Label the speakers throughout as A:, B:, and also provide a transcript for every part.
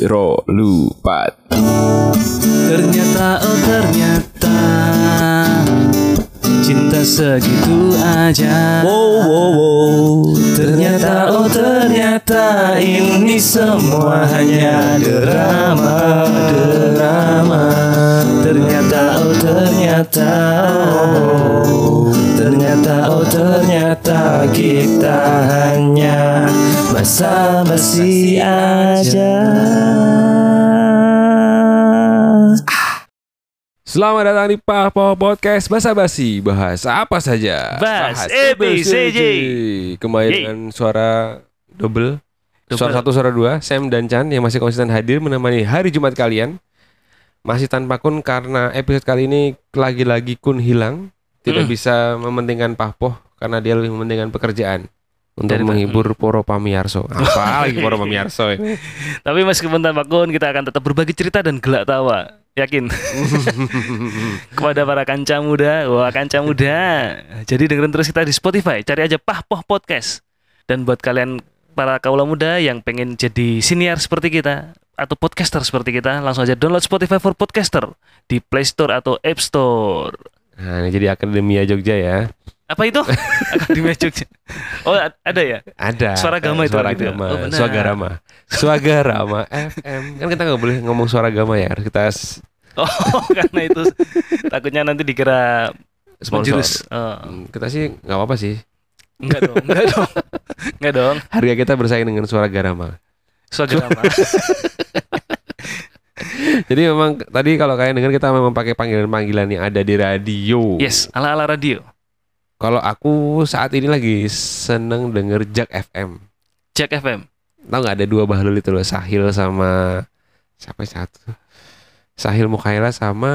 A: Jiro lupa
B: Ternyata oh ternyata Cinta segitu aja
C: Wow, wow, wow.
B: Ternyata oh ternyata Ini semua hanya drama Drama Ternyata oh ternyata oh, Ternyata oh ternyata Kita hanya Basa-basi aja
A: Selamat datang di Papo Podcast Bahasa Basi Bahas apa saja
C: Bahas
A: ABCD.
C: ABCD.
A: Kembali
C: Yeay.
A: dengan suara double
C: Double.
A: Suara satu, suara dua Sam dan Chan yang masih konsisten hadir menemani hari Jumat kalian Masih tanpa kun karena episode kali ini lagi-lagi kun hilang Tidak
C: Mm.
A: bisa mementingkan Papo Karena dia lebih mementingkan pekerjaan Untuk
C: Dari-
A: menghibur Poro Pamiarso Apa lagi Poro Pamiarso ini
C: Tapi meskipun tanpa kun, kita akan tetap berbagi cerita dan gelak tawa. Yakin? Kepada para kanca muda, wah kanca muda. Jadi dengerin terus kita di Spotify, cari aja Pahpoh Podcast. Dan buat kalian para kaula muda yang pengen jadi senior seperti kita atau podcaster seperti kita, langsung aja download Spotify for Podcaster di Play Store atau App Store.
A: Nah ini jadi Akademia Jogja ya
C: Apa itu? Akademi Jogja. Oh, a- ada ya?
A: Ada.
C: Suara gama itu
A: Suara
C: gitu ya?
A: gama.
C: Oh, benar.
A: Suagarama. Suagarama FM. Kan kita nggak boleh ngomong suara gama ya. Harus kita s-
C: Oh, karena itu takutnya nanti dikira
A: sponsor.
C: menjurus. Oh.
A: Hmm, Kita sih nggak apa-apa sih.
C: Enggak dong, enggak dong. Enggak dong.
A: Harga kita bersaing dengan suara garama.
C: Suagarama.
A: Jadi memang tadi kalau kalian dengar kita memang pakai panggilan-panggilan yang ada di radio.
C: Yes, ala-ala radio.
A: Kalau aku saat ini lagi seneng denger Jack FM.
C: Jack FM.
A: Tahu nggak ada dua bahlul itu loh, Sahil sama siapa satu? Sahil Mukhaila sama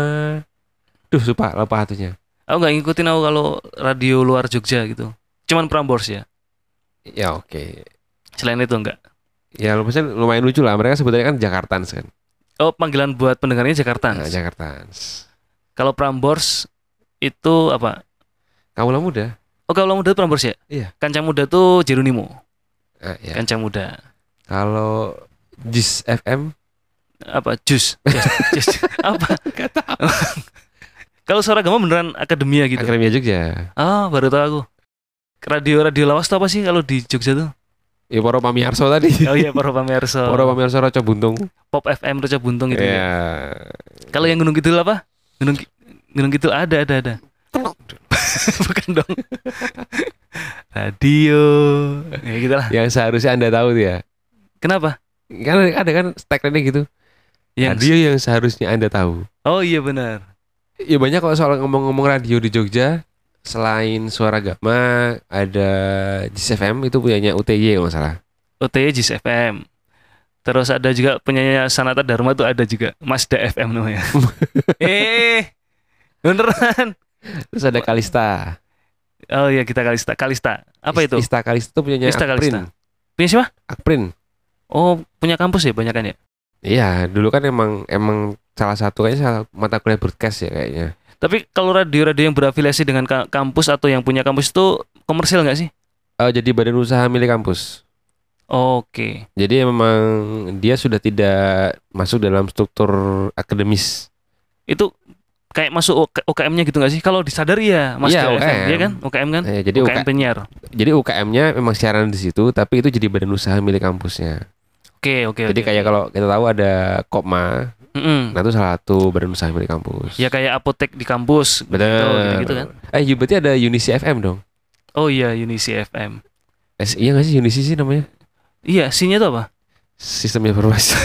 A: Duh, lupa, lupa satunya.
C: Aku nggak ngikutin aku kalau radio luar Jogja gitu. Cuman Prambors ya.
A: Ya oke.
C: Selain itu enggak.
A: Ya lu- maksudnya lumayan lucu lah Mereka sebenarnya kan Jakartans kan
C: Oh, panggilan buat pendengarnya Jakarta.
A: nah, Jakartans
C: Kalau Prambors itu apa?
A: Kamu lah muda
C: Oh, kalau muda itu Prambors ya?
A: Iya.
C: Kancang muda tuh Jeronimo.
A: Ah, ya.
C: Kancang muda.
A: Kalau Jis FM
C: Apa? Jus. Jus. Jus. apa? kalau suara agama beneran akademia gitu.
A: Akademia Jogja
C: Ah, baru tahu aku. Radio-radio lawas tuh apa sih kalau di Jogja tuh?
A: Ya Poro Pamiarso tadi
C: Oh iya, para pemirsa.
A: Poro Pamiarso Roco Buntung
C: Pop FM Reca Buntung gitu. ya.
A: Iya
C: Kalau yang Gunung Kidul apa? Gunung Ki- Gunung Kidul ada ada ada. Bukan dong. Radio. Ya gitu lah.
A: Yang seharusnya anda tahu tuh ya
C: Kenapa?
A: Kan ada kan tagline gitu
C: Yang
A: Radio yang seharusnya anda tahu
C: Oh iya benar.
A: Ya banyak kalau soal ngomong-ngomong radio di Jogja Selain Suara Gama Ada Jis FM itu punyanya UTY kalau nggak salah
C: OTY Jis FM. Terus ada juga penyanyi Sanata Dharma tuh ada juga. Mazda FM namanya. eh. Beneran.
A: Terus ada Kalista
C: Oh iya kita Kalista. Kalista. Apa itu?
A: Ista Kalista itu punyanya
C: Ista
A: Akprin.
C: Kalista. Punya siapa?
A: Akprin.
C: Oh, punya kampus ya banyak kan ya?
A: Iya, dulu kan emang emang salah satu kayaknya salah mata kuliah broadcast ya kayaknya.
C: Tapi kalau radio-radio yang berafiliasi dengan ka- kampus atau yang punya kampus itu komersil nggak sih?
A: Eh, jadi badan usaha milik kampus.
C: Oke.
A: Jadi memang dia sudah tidak masuk dalam struktur akademis.
C: Itu kayak masuk UK- UKM-nya gitu nggak sih? Kalau disadari ya, Mas
A: Iya,
C: Dea FM,
A: UKM.
C: ya kan? UKM kan?
A: Eh, jadi
C: UKM
A: UK,
C: penyiar.
A: jadi UKM-nya memang siaran di situ, tapi itu jadi badan usaha milik kampusnya.
C: Oke, oke.
A: Jadi
C: oke.
A: kayak kalau kita tahu ada Kopma,
C: Mm-mm.
A: nah itu salah satu badan usaha milik kampus.
C: ya kayak apotek di kampus.
A: benar.
C: gitu kan.
A: Eh, you- berarti ada Unisi FM dong.
C: Oh iya, Unisi FM.
A: Eh, iya nggak sih Unisi sih namanya?
C: Iya, sinya itu apa?
A: Sistem informasi.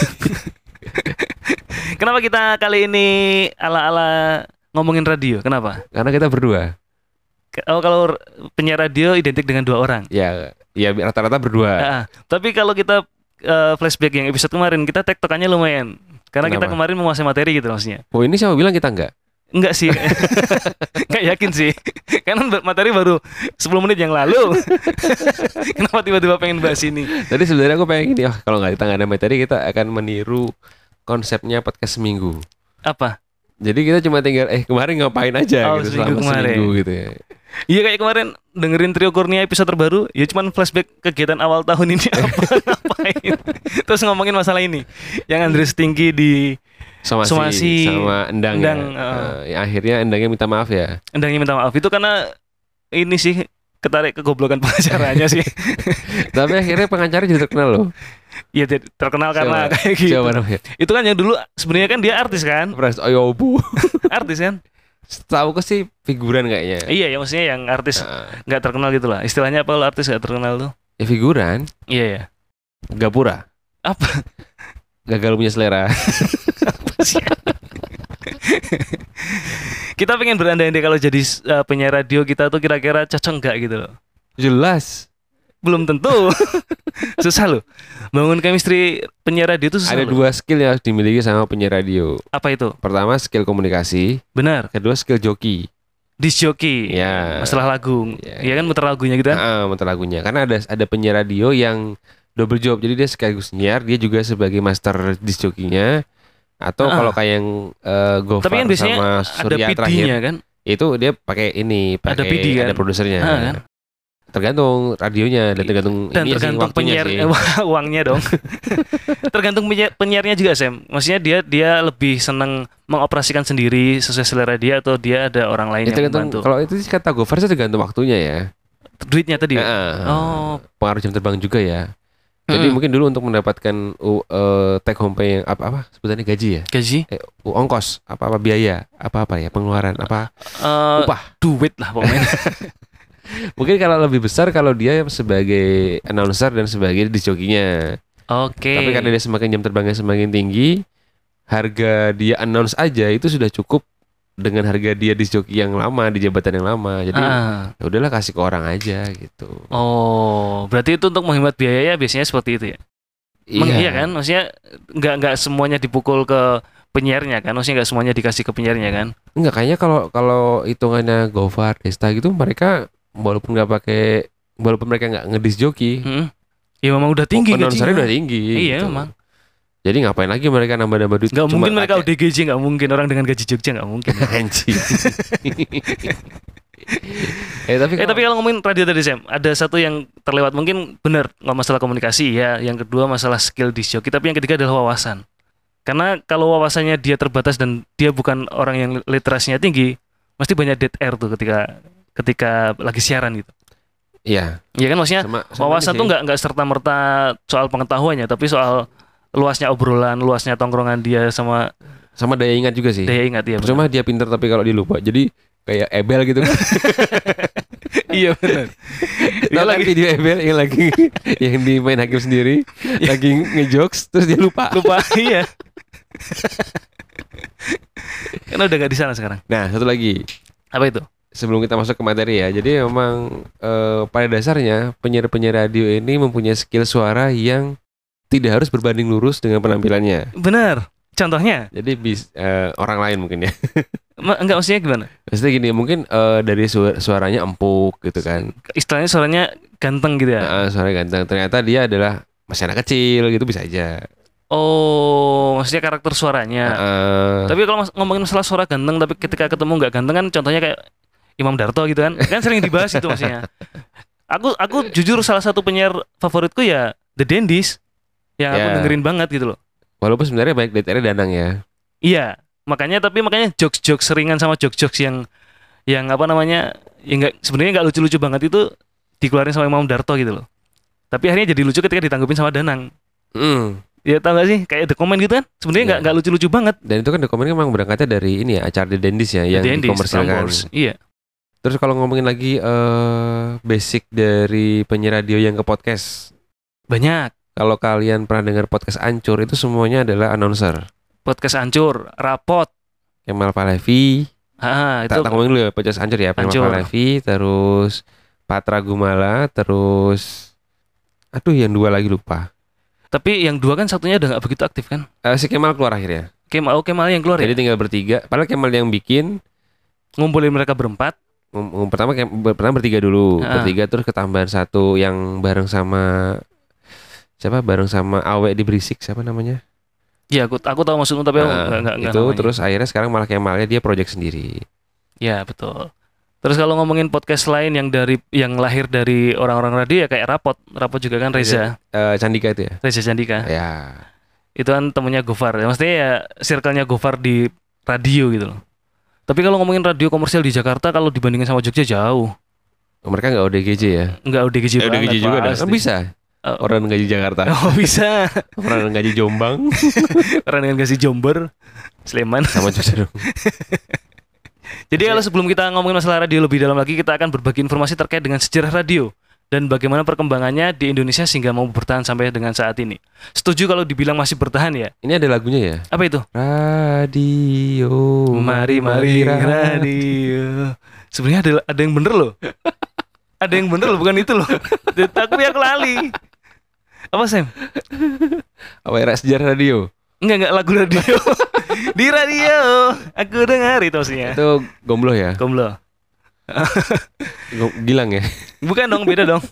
C: Kenapa kita kali ini ala-ala ngomongin radio? Kenapa?
A: Karena kita berdua.
C: Ke- Oh, kalau r- penyiar radio identik dengan dua orang.
A: ya ya rata-rata berdua
C: Ah, tapi kalau kita eh, flashback yang episode kemarin kita tektokannya lumayan karena kita
A: Kenapa?
C: kemarin menguasai materi gitu maksudnya
A: oh ini siapa bilang kita enggak
C: enggak sih enggak yakin sih karena ba- materi baru 10 menit yang lalu kenapa tiba-tiba pengen bahas ini
A: tadi sebenarnya aku pengen gini oh, kalau nggak kita nggak ada materi kita akan meniru konsepnya podcast seminggu
C: apa
A: jadi kita cuma tinggal eh kemarin ngapain aja
C: Oh,
A: gitu
C: seminggu
A: selama
C: kemarin.
A: seminggu gitu ya
C: Iya kayak kemarin dengerin Trio Kurnia episode terbaru, ya cuman flashback kegiatan awal tahun ini apa ngapain. Terus ngomongin masalah ini. Yang Andres tinggi di
A: sama si-
C: Somasi.
A: sama Endang,
C: Endang, oh.
A: ya.
C: heeh.
A: Eh, ya, akhirnya Endangnya minta maaf ya.
C: Endangnya minta maaf itu karena ini sih ketarik kegoblokan pengacaranya sih.
A: Tapi akhirnya pengacara jadi terkenal loh.
C: Iya ter- terkenal karena
A: Siapa?
C: kayak gitu.
A: Siapa namanya?
C: Itu kan yang dulu sebenarnya kan dia artis kan?
A: Pras Oyobu.
C: Artis kan?
A: Tahu ke sih figuran kayaknya.
C: Iya, yang maksudnya yang artis
A: Heeh.
C: nggak terkenal gitu lah. Istilahnya apa lo artis nggak terkenal tuh?
A: ya figuran,
C: Iya ya.
A: gapura.
C: Apa
A: Gagal punya selera.
C: sih? kita pengen berandai-andai kalau jadi eh, penyiar radio kita tuh kira-kira cocok nggak gitu loh.
A: Jelas.
C: Belum tentu. susah loh. Bangun chemistry penyiar radio itu susah.
A: Ada
C: loh.
A: dua skill yang harus dimiliki sama penyiar radio.
C: Apa itu?
A: Pertama skill komunikasi,
C: Benar.
A: kedua skill joki.
C: Disjoki.
A: Ya.
C: Masalah lagu.
A: Ya.
C: Iya kan muter lagunya gitu kan?
A: Heeh, Ah, muter lagunya. Karena ada ada penyiar radio yang double job. Jadi dia sekaligus nyiar, dia juga sebagai master disc jokinya atau
C: Ah.
A: kalau kayak yang eh, Gofar
C: Tapi kan biasanya
A: sama
C: Ada
A: Ah, Surya terakhir
C: PD-nya kan?
A: itu dia pakai ini, pakai
C: Ada PD kan?
A: ada produsernya.
C: Ah, kan?
A: Tergantung radionya dan tergantung ininya
C: dan
A: sih,
C: tergantung
A: waktunya
C: penyiar eh,
A: sih.
C: uangnya dong tergantung penyiar, penyiarnya juga Sam maksudnya dia dia lebih seneng mengoperasikan sendiri sesuai selera dia atau dia ada orang
A: Ya,
C: lain yang
A: tergantung
C: membantu
A: kalau itu sih kata Gofar sih tergantung waktunya ya.
C: duitnya tadi
A: Heeh.
C: Iya. oh
A: Pengaruh jam terbang juga ya. Jadi
C: Mm-mm.
A: mungkin dulu untuk mendapatkan uh, eh, take home pay yang apa apa sebutannya gaji ya,
C: gaji
A: Eh, ongkos apa apa biaya apa apa ya pengeluaran apa
C: Eh,
A: upah.
C: duit lah pokoknya
A: Mungkin kalau lebih besar kalau dia sebagai announcer dan sebagai disjokinya.
C: oke
A: Tapi karena dia semakin jam terbangnya semakin tinggi, harga dia announce aja itu sudah cukup dengan harga dia disjoki yang lama di jabatan yang lama. Jadi
C: Ah,
A: ya udahlah kasih ke orang aja gitu.
C: oh berarti itu untuk menghemat biaya ya biasanya seperti itu ya Meng- iya kan maksudnya nggak nggak semuanya dipukul ke penyiarnya kan maksudnya nggak semuanya dikasih ke penyiarnya kan
A: Enggak kayaknya kalau kalau hitungannya Gofar, Desta gitu mereka walaupun nggak pakai walaupun mereka nggak ngedisjoki,
C: Heeh. ya memang udah tinggi
A: announcernya
C: gajinya.
A: udah tinggi.
C: Iya,
A: gitu.
C: emang.
A: Jadi ngapain lagi mereka nambah-nambah duit? Cuma
C: Gak
A: Iya.
C: mungkin mereka
A: pakai-
C: udah gaji nggak mungkin orang dengan gaji Jogja nggak mungkin.
A: Anjing. eh tapi,
C: eh tapi kalau ngomongin radio tadi Sam, ada satu yang terlewat mungkin benar nggak masalah komunikasi ya, yang kedua masalah skill di joki, tapi yang ketiga adalah wawasan. Karena kalau wawasannya dia terbatas dan dia bukan orang yang literasinya tinggi, mesti banyak dead air tuh ketika ketika lagi siaran gitu.
A: ya
C: Iya kan maksudnya
A: sama, sama
C: wawasan
A: ini sih.
C: tuh
A: iya.
C: nggak nggak serta merta soal pengetahuannya, tapi soal luasnya obrolan, luasnya tongkrongan dia sama
A: sama daya ingat juga sih.
C: daya ingat ya? dia.
A: Cuma dia pinter tapi kalau dia lupa. Jadi kayak Ebel gitu.
C: iya benar.
A: Tahu lagi
C: Dia Iya lagi
A: video Ebel yang lagi yang dimain hakim sendiri, lagi ngejokes terus dia lupa.
C: Iya. lupa iya kan udah gak di sana sekarang
A: Nah, satu lagi.
C: apa itu
A: sebelum kita masuk ke materi ya. Jadi memang eh, pada dasarnya penyiar-penyiar radio ini mempunyai skill suara yang tidak harus berbanding lurus dengan penampilannya.
C: benar contohnya
A: Jadi bis, eh, orang lain mungkin ya.
C: ma- enggak maksudnya gimana
A: Maksudnya gini, mungkin eh, dari suara- suaranya empuk gitu kan.
C: istilahnya suaranya ganteng gitu ya
A: Heeh, suara ganteng. Ternyata dia adalah masih anak kecil gitu bisa aja.
C: oh maksudnya karakter suaranya
A: Heeh.
C: Ya. tapi kalau mas- ngomongin masalah suara ganteng tapi ketika ketemu nggak ganteng kan contohnya kayak Imam Darto gitu kan kan sering dibahas itu maksudnya aku aku jujur salah satu penyiar favoritku ya The Dandies yang aku
A: Ya.
C: dengerin banget gitu loh
A: walaupun sebenarnya baik DTR Danang ya.
C: Iya, makanya tapi makanya jokes-jokes seringan sama jokes-jokes yang yang apa namanya? yang enggak sebenarnya nggak lucu-lucu banget itu dikeluarin sama Imam Darto gitu loh. Tapi akhirnya jadi lucu ketika ditanggepin sama Danang.
A: Mm.
C: Ya tau gak sih? Kayak the comment gitu kan. Sebenarnya nggak
A: Iya.
C: nggak lucu-lucu banget.
A: Dan itu kan dokumennya memang berangkatnya dari ini ya, acara The Dandies ya yang
C: Dandies,
A: dikomersilkan.
C: Prambors. Iya.
A: Terus kalau ngomongin lagi eh basic dari penyiar radio yang ke podcast.
C: Banyak
A: Kalau kalian pernah dengar podcast Ancur itu semuanya adalah announcer.
C: podcast hancur, rapot.
A: Kemal Palevi,
C: Ah, itu
A: tak tak ngomongin dulu ya podcast Ancur ya, Kemal
C: Ancur.
A: Palevi, terus Patra Gumala, terus aduh yang dua lagi lupa.
C: tapi yang dua kan satunya udah nggak begitu aktif kan?
A: Eh, si Kemal keluar akhirnya.
C: Kemal, oh, Kemal yang keluar
A: Jadi
C: ya?
A: tinggal bertiga. Padahal Kemal yang bikin
C: ngumpulin mereka berempat.
A: ngom- ngom- pertama Kem- ber- pertama bertiga dulu,
C: Ah.
A: bertiga terus ketambahan satu yang bareng sama siapa? Bareng sama Awe di Berisik siapa namanya?
C: Iya, aku aku tahu maksudmu tapi
A: Nah,
C: aku nggak nggak nggak
A: itu
C: namanya.
A: terus akhirnya sekarang malah Kemalnya dia project sendiri.
C: Ya betul. Terus kalau ngomongin podcast lain yang dari yang lahir dari orang-orang radio ya kayak Rapot, Rapot juga kan Reza,
A: Eh, Candika itu ya.
C: Reza Candika.
A: Ya.
C: Itu kan temennya Gofar. Ya, maksudnya ya circle-nya Gofar di radio gitu loh. Tapi kalau ngomongin radio komersial di Jakarta kalau dibandingin sama Jogja jauh.
A: Mereka nggak ODGJ ya.
C: Enggak ODGJ
A: Eh,
C: banget.
A: ODGJ juga dah.
C: pasti.
A: Bisa.
C: Eh,
A: Orang gaji Jakarta,
C: Oh bisa.
A: orang gaji Jombang
C: Orang dengan kasih kan Jomber, Sleman.
A: sama Jogja dong.
C: Jadi kalau sebelum kita ngomongin masalah radio lebih dalam lagi, kita akan berbagi informasi terkait dengan sejarah radio dan bagaimana perkembangannya di Indonesia sehingga mau bertahan sampai dengan saat ini. Setuju kalau dibilang masih bertahan ya?
A: Ini ada lagunya ya.
C: Apa itu?
A: Radio. radio.
C: radio. Sebenarnya ada ada yang bener loh. ada yang bener loh, bukan itu loh. Tapi aku lali. Apa Sam?
A: Apa era sejarah radio?
C: Enggak enggak lagu radio. di radio aku dengar itu maksudnya.
A: Itu gombloh ya.
C: Komlo.
A: Go- Gilang ya.
C: Bukan dong, beda dong.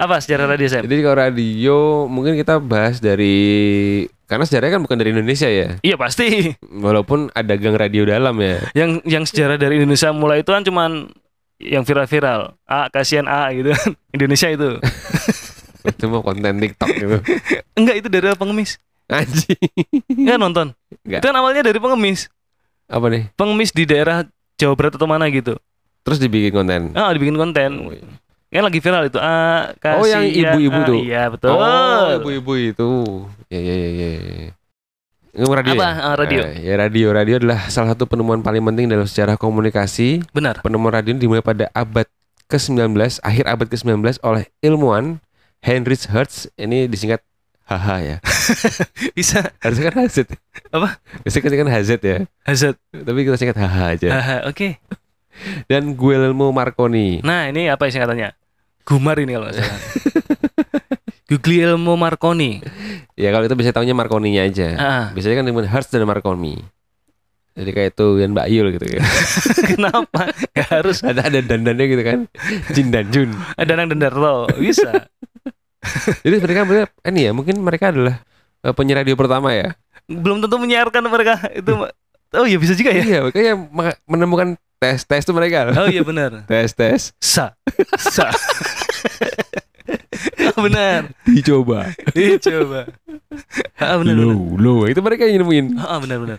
C: Apa sejarah radio Sam?
A: Jadi kalau radio mungkin kita bahas dari karena sejarahnya kan bukan dari Indonesia ya.
C: Iya pasti.
A: Walaupun ada gang radio dalam ya.
C: yang yang sejarah dari Indonesia mulai itu kan cuman yang viral-viral ah kasihan ah gitu kan Indonesia itu
A: Itu mah konten TikTok gitu.
C: enggak itu dari pengemis
A: Anjing.
C: enggak nonton
A: Enggak.
C: itu kan awalnya dari pengemis
A: Apa nih?
C: pengemis di daerah Jawa Barat atau mana gitu
A: Terus dibikin konten.
C: ah dibikin konten kan lagi viral itu ah kasihan
A: Oh, yang ibu-ibu
C: ah.
A: tuh.
C: iya betul
A: Oh, ibu-ibu itu. Ya ya ya ya. ya. Ngomong radio.
C: apa
A: ya?
C: Ah, radio
A: Nah, ya radio. Radio adalah salah satu penemuan paling penting dalam sejarah komunikasi.
C: benar
A: Penemuan radio dimulai pada abad ke-19, akhir abad ke-19 oleh ilmuwan Heinrich Hertz. Ini disingkat HH ya.
C: bisa
A: Harusnya kan HZ.
C: Apa? Hmm.
A: Harusnya kan- kan HZ ya.
C: hazard
A: Tapi kita singkat HH aja.
C: Haha, oke
A: Dan Guglielmo Marconi.
C: nah ini apa singkatannya Gumar ini kalau nggak salah Guglielmo Marconi
A: Ya kalau itu bisa taunya Marconinya aja.
C: ah
A: Biasanya kan dengan Hertz dan Marconi. Jadi kayak itu dan Mbak Yul gitu ya.
C: kenapa Nggak harus
A: Ada ada dandannya gitu kan. Jin dan Jun.
C: Danang Dendarto bisa.
A: Jadi mereka mereka ini ya mungkin mereka adalah eh, penyiar radio pertama ya.
C: Belum tentu menyiarkan mereka itu. Ma- Oh iya bisa juga ya.
A: Iya, makanya ma- menemukan tes tes itu mereka. loh.
C: Oh iya benar.
A: Tes tes
C: Sa. Sa. Ah, benar.
A: dicoba.
C: Ih, coba. Ah benar benar.
A: Low low itu mereka yang nemuin.
C: Ah benar benar.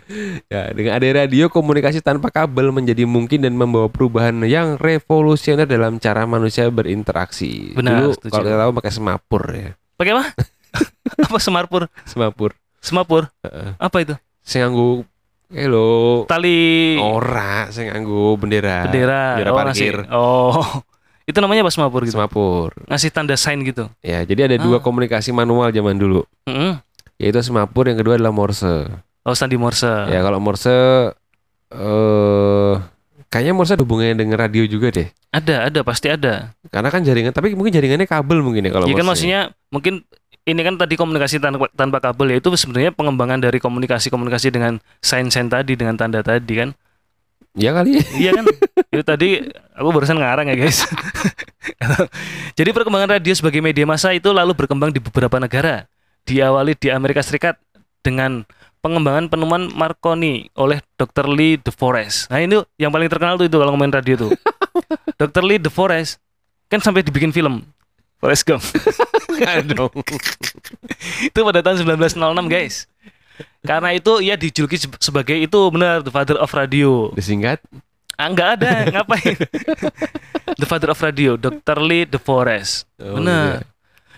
A: Ya, dengan ada radio komunikasi tanpa kabel menjadi mungkin dan membawa perubahan yang revolusioner dalam cara manusia berinteraksi.
C: Benar,
A: Dulu
C: setuju.
A: kalau kita tahu pakai semapur ya.
C: Pakai apa? apa semarpur?
A: Semapur.
C: Semapur.
A: Heeh.
C: Apa itu?
A: Saya nganggo hello.
C: Tali
A: Ora, saya nganggo bendera. Oh,
C: bendera.
A: iya. bendera
C: oh,
A: parkir.
C: ngasih- Oh. Itu namanya apa semapur gitu?
A: Semapur.
C: Ngasih tanda sign gitu.
A: Ya, jadi ada
C: Ah.
A: dua komunikasi manual zaman dulu,
C: Mm-mm.
A: yaitu semapur, yang kedua adalah morse.
C: Oh, Sandi Morse.
A: Ya, kalau morse eh kayaknya morse ada hubungannya dengan radio juga deh.
C: Ada, ada, pasti ada.
A: Karena kan jaringan, tapi mungkin jaringannya kabel mungkin ya kalau
C: Ya kan
A: morse.
C: maksudnya mungkin ini kan tadi komunikasi tanpa, tanpa kabel ya itu sebenarnya pengembangan dari komunikasi-komunikasi dengan sains-sains tadi dengan tanda tadi kan.
A: Ya kali.
C: Iya kan? itu tadi aku barusan ngarang ya guys. Jadi perkembangan radio sebagai media massa itu lalu berkembang di beberapa negara. Diawali di Amerika Serikat dengan pengembangan penemuan Marconi oleh Dr. Lee De Forest. Nah, ini yang paling terkenal tuh itu kalau ngomongin radio tuh. Dr. Lee De Forest kan sampai dibikin film Forest Gump.
A: Enggak dong.
C: itu pada tahun 1906 guys karena itu ia dijuluki se- sebagai itu benar the father of radio
A: Disingkat
C: ah nggak ada ngapain the father of radio Dr. Lee De Forest
A: Oh,
C: benar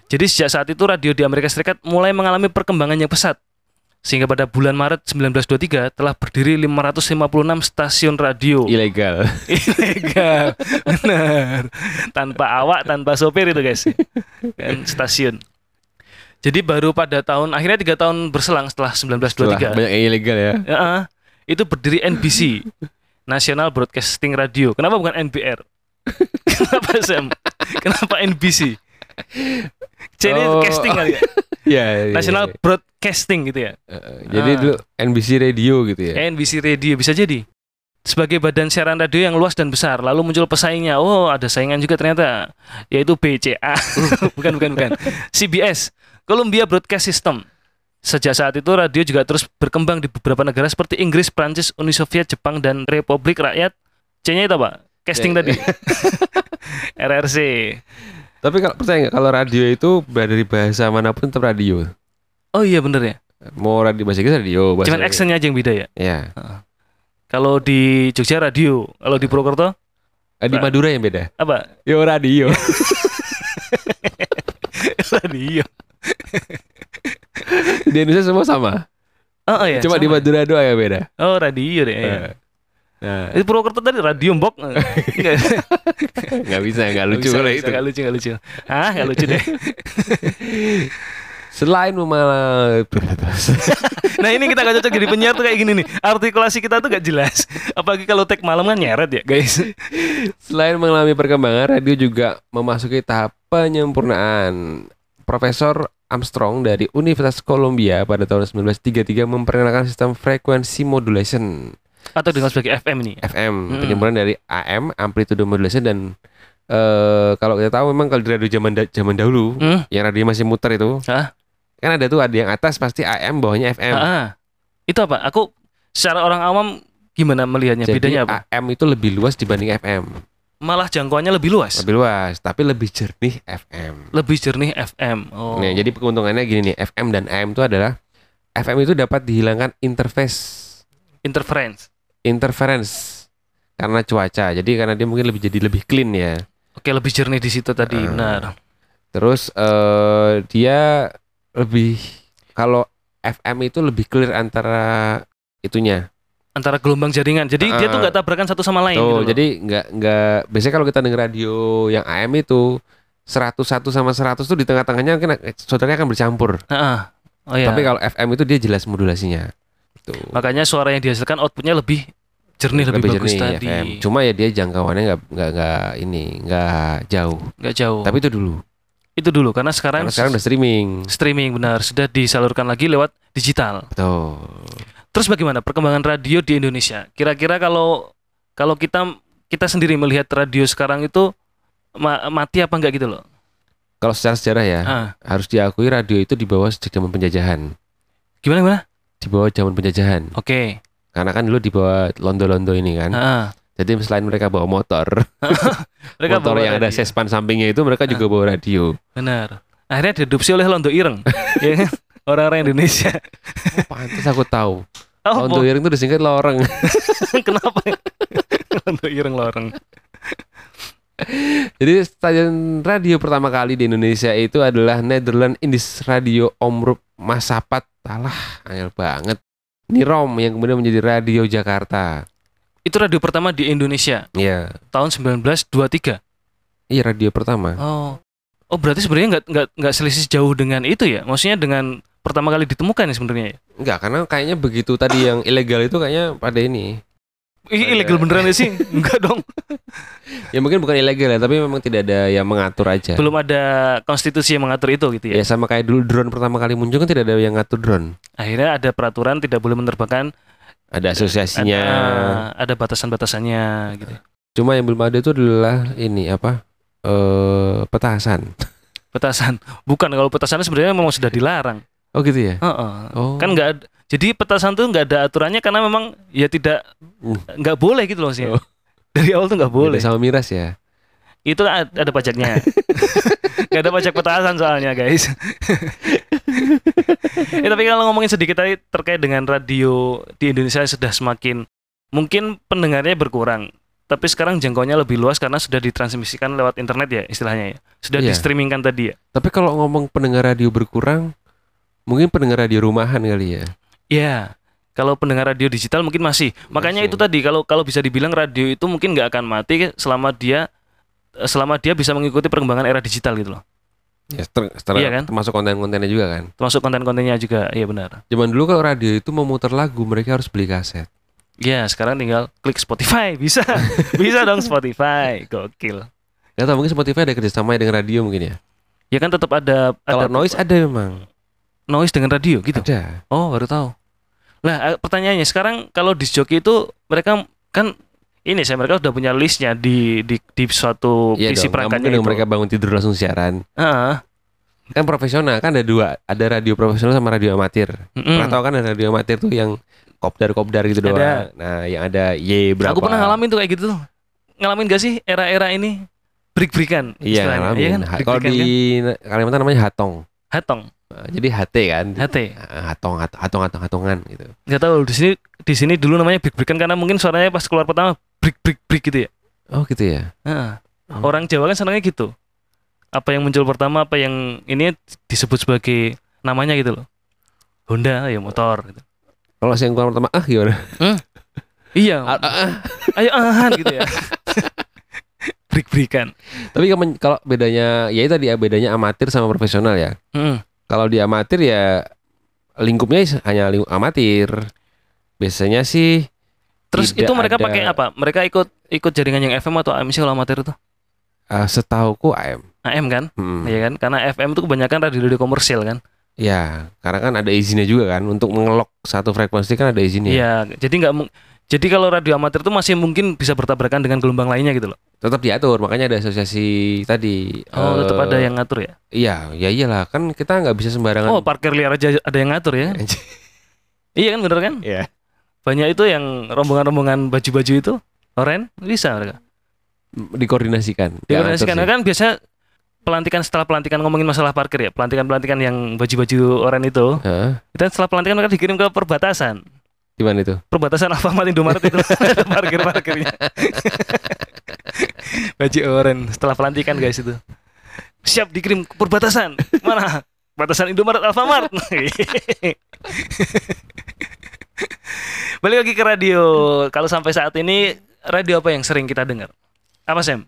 C: jadi sejak saat itu radio di Amerika Serikat mulai mengalami perkembangan yang pesat sehingga pada bulan Maret 1923 telah berdiri 556 stasiun radio
A: iya. ilegal.
C: ilegal benar tanpa awak tanpa sopir itu guys dan stasiun jadi baru pada tahun akhirnya tiga tahun berselang setelah
A: Setelah
C: 1923
A: banyak yang ilegal ya.
C: Heeh. itu berdiri NBC National Broadcasting Radio kenapa bukan NBR kenapa Sam kenapa NBC jadi
A: Oh.
C: casting kali ya
A: Iya. iya,
C: National
A: iya.
C: Broadcasting gitu ya
A: Eh, eh, jadi
C: Ah. Eh.
A: dulu NBC radio gitu ya.
C: NBC Radio bisa jadi sebagai badan siaran radio yang luas dan besar lalu muncul pesaingnya oh ada saingan juga ternyata yaitu BCA
A: Uh.
C: bukan bukan bukan CBS Columbia Broadcast System sejak saat itu radio juga terus berkembang di beberapa negara seperti Inggris, Prancis, Uni Soviet, Jepang dan Republik Rakyat C-nya itu apa? casting
A: Iya,
C: tadi. RRC.
A: Tapi kalau percaya nggak kalau radio itu berada dari bahasa manapun tetap radio.
C: Oh iya bener ya.
A: Mau radio bahasa Inggris radio, bahasa
C: Cuman
A: Inggris.
C: actionnya aja yang beda ya.
A: Ya.
C: Kalau di Jogja radio, kalau
A: Iya.
C: di Purwokerto
A: Eh, Di
C: Nah.
A: Madura yang beda.
C: apa?
A: Yo radio.
C: radio.
A: di Indonesia semua sama.
C: Oh, oh ya.
A: Cuma di
C: sama.
A: Madura doang yang beda.
C: Oh radio deh. Ya.
A: Eh, Nah,
C: Itu Purwokerto tadi radio mbok. Nggak-
A: nggak bisa, nggak
C: nggak
A: lucu
C: bisa,
A: kalau
C: nggak
A: itu.
C: bisa, Nggak lucu, nggak lucu. Ah, nggak lucu deh.
A: Selain memal
C: Nah ini kita gak cocok jadi penyiar tuh kayak gini nih Artikulasi kita tuh gak jelas Apalagi kalau tag malam kan nyeret ya guys
A: Selain mengalami perkembangan, radio juga memasuki tahap penyempurnaan. Profesor Armstrong dari Universitas Columbia pada tahun 1933 memperkenalkan sistem frekuensi modulation
C: Atau dengan sebagai FM ini
A: FM,
C: Mm-mm.
A: penyempurnaan dari AM, amplitude modulation dan eh, kalau kita tahu memang kalau di radio zaman da- zaman dahulu
C: hmm?
A: yang radio masih muter itu,
C: Hah?
A: kan ada tuh ada yang atas pasti AM, bawahnya FM.
C: Ah, Itu apa? Aku secara orang awam gimana melihatnya?
A: Jadi
C: Bedanya apa?
A: AM itu lebih luas dibanding FM.
C: Malah jangkauannya lebih luas
A: Lebih luas, tapi lebih jernih FM.
C: Lebih jernih FM oh.
A: Nah, jadi keuntungannya gini nih, FM dan AM itu adalah FM itu dapat dihilangkan interface
C: Interference
A: interference karena cuaca. Jadi karena dia mungkin lebih jadi lebih clean ya.
C: Oke lebih jernih di situ tadi
A: Ah.
C: Benar
A: Terus eh dia lebih kalau FM itu lebih clear antara itunya.
C: Antara gelombang jaringan Jadi dia tuh
A: Ah.
C: gak tabrakan satu sama lain gitu
A: Tuh,
C: loh.
A: jadi nggak nggak biasanya kalau kita denger radio yang AM itu 101 sama 100 tuh di tengah-tengahnya mungkin eh, saudaranya akan bercampur.
C: Ah, ah. Oh, iya.
A: Tapi kalau FM itu dia jelas modulasinya. Tuh.
C: Makanya suara yang dihasilkan outputnya lebih jernih Lebih, bagus
A: jernih
C: tadi
A: FM. Cuma ya dia jangkauannya nggak nggak nggak ini nggak jauh.
C: Nggak jauh
A: Tapi itu dulu.
C: Itu dulu karena sekarang
A: Karena sekarang udah streaming.
C: streaming benar sudah disalurkan lagi lewat digital.
A: Betul.
C: Terus bagaimana perkembangan radio di Indonesia? Kira-kira kalau kalau kita kita sendiri melihat radio sekarang itu ma- mati apa enggak gitu loh?
A: Kalau secara sejarah ya
C: Ah,
A: harus diakui radio itu di bawah sejak zaman penjajahan.
C: gimana gimana?
A: Di bawah zaman penjajahan.
C: Oke.
A: Karena kan dulu di bawah londo-londo ini kan.
C: Ah,
A: Jadi selain mereka bawa motor, motor
C: bawa
A: yang ada
C: radio. Ah.
A: sespan sampingnya itu mereka juga bawa radio.
C: Benar. Akhirnya diadopsi oleh Londo Ireng. ya kan? Orang-orang Indonesia.
A: Pantes aku tahu.
C: Oh,
A: Londo Ireng itu disingkat loreng.
C: kenapa? Londo Ireng loreng.
A: Jadi stadion radio pertama kali di Indonesia itu adalah Netherlands Indies Radio Omroep Masapat. Alah, angel banget. Nirom yang kemudian menjadi Radio Jakarta.
C: Itu radio pertama di Indonesia
A: Iya.
C: tahun 1923.
A: Iya, radio pertama.
C: Oh. Oh, berarti sebenarnya nggak nggak nggak selisih jauh dengan itu ya? Maksudnya dengan pertama kali ditemukan ya sebenarnya ya?
A: Enggak, karena kayaknya begitu tadi yang ilegal itu kayaknya pada ini.
C: Ih, ilegal beneran ya sih? Enggak dong.
A: Ya mungkin bukan ilegal ya, tapi memang tidak ada yang mengatur aja.
C: Belum ada konstitusi yang mengatur itu gitu ya.
A: Ya sama kayak dulu drone pertama kali muncul kan tidak ada yang ngatur drone.
C: Akhirnya ada peraturan tidak boleh menerbangkan
A: Ada asosiasinya.
C: ada, eh, ada batasan-batasannya gitu.
A: Cuma yang belum ada itu adalah ini apa? Eh petasan.
C: Petasan. Bukan kalau petasan sebenarnya memang sudah dilarang.
A: Oh gitu ya.
C: Heeh.
A: Oh.
C: Kan enggak ad- jadi petasan tuh nggak ada aturannya karena memang ya tidak
A: Uh.
C: nggak boleh gitu loh maksudnya.
A: Oh.
C: Dari awal tuh nggak
A: Beda
C: boleh.
A: sama miras ya.
C: Itu ad- ada pajaknya. Nggak ada pajak petasan soalnya guys. ya, tapi kalau ngomongin sedikit tadi terkait dengan radio di Indonesia sudah semakin mungkin pendengarnya berkurang. Tapi sekarang jangkauannya lebih luas karena sudah ditransmisikan lewat internet ya istilahnya ya. Sudah
A: Iya.
C: di streamingkan tadi ya.
A: Tapi kalau ngomong pendengar radio berkurang, mungkin pendengar radio rumahan kali ya.
C: Ya, kalau pendengar radio digital mungkin masih. Makanya
A: Masih.
C: itu tadi kalau kalau bisa dibilang radio itu mungkin nggak akan mati selama dia selama dia bisa mengikuti perkembangan era digital gitu loh.
A: Ya, ter- ter-
C: Iya kan?
A: termasuk konten-kontennya juga kan.
C: Termasuk konten-kontennya juga. Iya benar.
A: Zaman dulu kalau radio itu memutar lagu, mereka harus beli kaset.
C: Ya, sekarang tinggal klik Spotify, bisa. bisa dong Spotify. Gokil.
A: Gak tau mungkin Spotify ada kerjasamanya dengan radio mungkin ya.
C: Ya kan tetap ada
A: Kalau
C: ada
A: noise ada memang.
C: noise dengan radio gitu.
A: Ada.
C: Oh, baru tahu. Lah, eh, pertanyaannya sekarang kalau di joki itu mereka kan ini saya mereka sudah punya listnya di di di suatu
A: Iya dong.
C: PC
A: Nggak
C: perangkatnya
A: mungkin dong
C: itu.
A: mereka bangun tidur langsung siaran.
C: Heeh.
A: Kan profesional kan ada dua, ada radio profesional sama radio amatir.
C: Mm-mm.
A: Pernah tau kan ada radio amatir tuh yang kopdar-kopdar gitu
C: Hmm. Ada.
A: doang. Nah, yang ada Y berapa.
C: Aku pernah ngalamin tuh kayak gitu tuh. ngalamin gak sih era-era ini break-breakan?
A: Iya,
C: istilahnya,
A: ngalamin.
C: Iya kan?
A: Ha- Kalau
C: Break-breakan
A: di
C: kan?
A: Kalimantan namanya hatong.
C: Hatong,
A: Eh, Jadi HT kan.
C: HT.
A: Eh, Hatong, hat- hatong, hatong, hatongan gitu.
C: Gak tahu di sini di sini dulu namanya break-breakan karena mungkin suaranya pas keluar pertama break-break-break gitu ya.
A: Oh gitu ya.
C: Heeh.
A: Hmm.
C: Orang Jawa kan senangnya gitu. Apa yang muncul pertama, apa yang ini disebut sebagai namanya gitu loh. Honda ya motor gitu.
A: Kalau saya yang keluar pertama ah gimana?
C: Iya,
A: Ah, ah, ah.
C: ayo ahan gitu ya. break-breakan.
A: Tapi kemen- kalau bedanya ya itu tadi ya bedanya amatir sama profesional ya.
C: Heeh.
A: Kalau di amatir ya lingkupnya is- hanya lingkup amatir. Biasanya sih
C: Terus
A: Tidak
C: itu mereka
A: ada-
C: pakai apa? Mereka ikut ikut jaringan yang FM atau AM sih kalau amatir itu?
A: eh, setauku AM.
C: AM kan?
A: Hmm.
C: Iya kan? Karena FM itu kebanyakan radio-radio komersil kan.
A: Ya, karena kan ada izinnya juga kan untuk mengelok satu frekuensi kan ada izinnya.
C: Iya. Jadi nggak mung- jadi kalau radio amatir itu masih mungkin bisa bertabrakan dengan gelombang lainnya gitu loh.
A: Tetap diatur, makanya ada asosiasi tadi.
C: Oh,
A: Eh,
C: tetap ada yang ngatur ya.
A: Iya, ya iyalah kan kita nggak bisa sembarangan.
C: Oh, parkir liar aja ada yang ngatur ya. kan? iya kan bener kan?
A: Iya.
C: Banyak itu yang rombongan-rombongan baju-baju itu oren bisa mereka.
A: dikoordinasikan. Nggak
C: Dikoordinasikan
A: ngatur Ya, sih.
C: kan biasa pelantikan setelah pelantikan ngomongin masalah parkir ya. Pelantikan-pelantikan yang baju-baju oren itu.
A: Hah?
C: Dan setelah pelantikan mereka dikirim ke perbatasan.
A: Gimana itu?
C: perbatasan Alfamart Indomaret itu ada parkir-parkirnya. Baju oren setelah pelantikan guys itu. Siap dikirim ke perbatasan. Mana? Perbatasan Indomaret Alfamart. Balik lagi ke radio. Kalau sampai saat ini radio apa yang sering kita dengar? Apa Sam?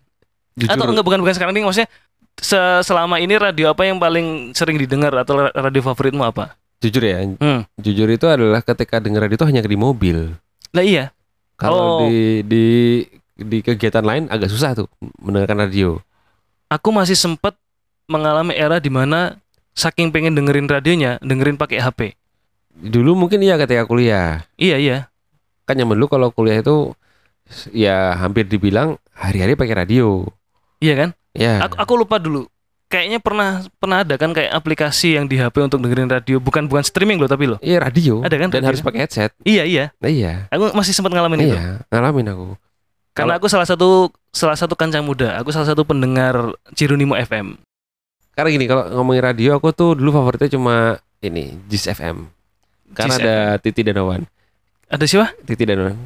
A: Jujur.
C: Atau enggak bukan bukan sekarang ini maksudnya se- selama ini radio apa yang paling sering didengar atau ra- radio favoritmu apa?
A: Jujur ya,
C: Hmm.
A: jujur itu adalah ketika denger radio itu hanya di mobil.
C: Lah iya. Oh.
A: Kalau di di di kegiatan lain agak susah tuh mendengarkan radio.
C: aku masih sempat mengalami era di mana saking pengen dengerin radionya, dengerin pakai HP.
A: Dulu mungkin iya ketika kuliah.
C: Iya iya.
A: Kan yang dulu kalau kuliah itu ya hampir dibilang hari-hari pakai radio.
C: Iya kan?
A: Ya.
C: Aku aku lupa dulu. Kayaknya pernah pernah ada kan kayak aplikasi yang di HP untuk dengerin radio, bukan bukan streaming loh tapi loh.
A: Iya radio.
C: Ada kan
A: Dan
C: radio?
A: harus pakai headset.
C: Iya iya.
A: Nah, iya.
C: Aku masih sempat ngalamin itu.
A: Iya, ngalamin aku.
C: Karena aku salah satu salah satu kancah muda, aku salah satu pendengar Cirunimo FM.
A: Karena gini kalau ngomongin radio aku tuh dulu favoritnya cuma ini Jis FM. Karena
C: Jis
A: ada Titi dan Wawan.
C: Ada siapa?
A: Titi dan Wawan.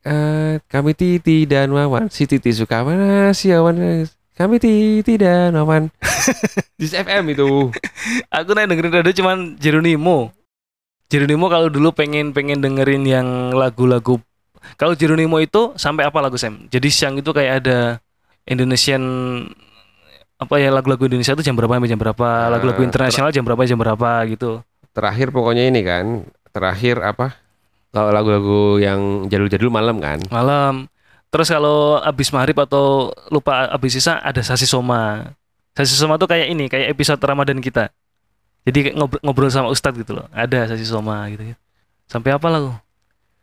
A: Eh, kami Titi dan Wawan. Si Titi suka mana? Si Wawan. eh, Kami Titi dan Wawan. Jis FM itu.
C: Aku naik dengerin radio cuman Jerunimo. Jerunimo kalau dulu pengen pengen dengerin yang lagu-lagu. Kalau Jerunimo itu sampai apa lagu Sam? Jadi siang itu kayak ada Indonesian apa ya lagu-lagu Indonesia itu jam berapa sampai jam berapa,
A: Ah,
C: lagu-lagu internasional jam berapa jam berapa gitu.
A: Terakhir pokoknya ini kan. Terakhir apa? Kalau lagu-lagu yang jadul-jadul malam kan.
C: Malam. Terus kalau abis maghrib atau lupa abis sisa ada sasi soma. Sasi soma tuh kayak ini, kayak episode Ramadan kita. Jadi kayak ngobrol, ngobrol sama ustadz gitu loh. Ada sasi soma gitu. Sampai apa lagu?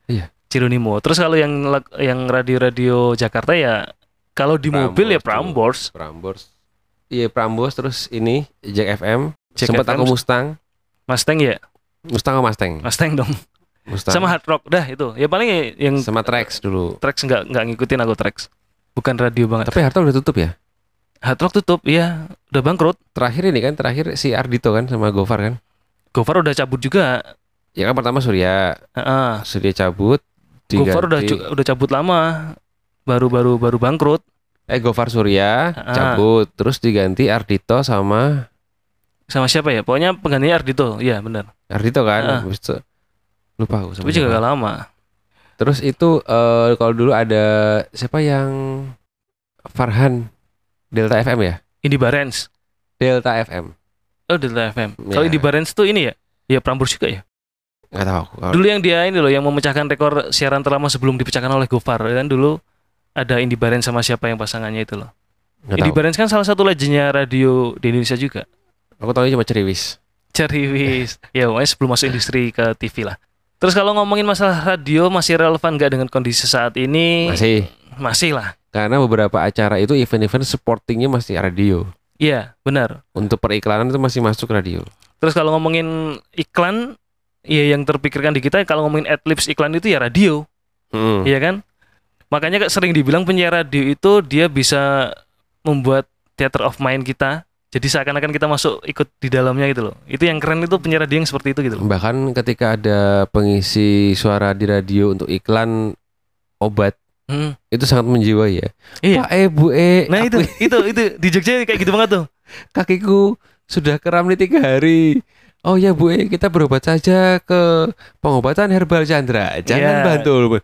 A: Iya.
C: Cirunimo. Terus kalau yang lag- yang radio-radio Jakarta ya kalau di
A: Prambors
C: mobil ya
A: tuh.
C: Prambors.
A: Prambors. Iya Prambors terus ini Jack FM.
C: Jack
A: Sempet
C: FM.
A: aku Mustang.
C: Mustang ya,
A: Mustang sama Mustang.
C: Mustang dong.
A: Mustang.
C: Sama Hard Rock dah itu. Ya paling ya yang
A: sama Trax dulu.
C: Trax nggak nggak ngikutin aku Trax. Bukan radio banget.
A: Tapi Harto udah tutup ya.
C: Hard Rock tutup, iya, udah bangkrut.
A: Terakhir ini kan terakhir si Ardito kan sama Gofar kan.
C: Gofar udah cabut juga.
A: Ya kan pertama Surya,
C: Heeh.
A: Surya cabut. diganti-
C: Gofar udah ju- udah cabut lama. Baru-baru baru bangkrut.
A: eh Gofar Surya
C: Ah.
A: cabut, terus diganti Ardito sama
C: Sama siapa ya? Pokoknya penggantinya Ardito. Iya, benar.
A: Ardito
C: Ah.
A: kan. Habis itu- lupa aku sama
C: Tapi juga
A: siapa.
C: gak lama.
A: Terus itu eh, kalau dulu ada siapa yang Farhan Delta FM ya?
C: Indi Barens.
A: Delta FM.
C: Oh, Delta FM.
A: Iya.
C: Kalau Indi Barens tuh ini ya? Ya Prambors juga ya.
A: Enggak tahu aku. Kalau-
C: Dulu yang dia ini loh yang memecahkan rekor siaran terlama sebelum dipecahkan oleh Gofar. Kan dulu ada Indi Barens sama siapa yang pasangannya itu loh.
A: nggak
C: Indi
A: tahu.
C: Barens kan salah satu legendnya radio di Indonesia juga.
A: Aku tahu cuma Ceriwis. Iya.
C: Ceriwis. ya, pokoknya sebelum masuk industri ke TV lah. Terus kalau ngomongin masalah radio masih relevan nggak dengan kondisi saat ini?
A: Masih
C: Masih lah.
A: karena beberapa acara itu event-event supportingnya masih radio.
C: Iya, benar.
A: Untuk periklanan itu masih masuk radio.
C: Terus kalau ngomongin iklan, iya, ya yang terpikirkan di kita kalau ngomongin adlibs iklan itu ya radio,
A: Hmm.
C: iya kan? Makanya kayak sering dibilang penyiar radio itu dia bisa membuat theater of mind kita. Jadi seakan-akan kita masuk ikut di dalamnya gitu loh. Itu yang keren itu penyiar radio yang seperti itu gitu loh.
A: Hmm. Bahkan ketika ada pengisi suara di radio untuk iklan obat
C: Hmm,
A: itu sangat menjiwai ya.
C: Iya.
A: Pak E, Bu E,
C: Nah itu
A: aku-
C: itu itu di Jogja kayak gitu banget tuh.
A: kakiku sudah keram nih tiga hari. Oh ya Bu E, kita berobat saja ke pengobatan herbal Chandra. Jangan
C: Iya.
A: bantul. Bu.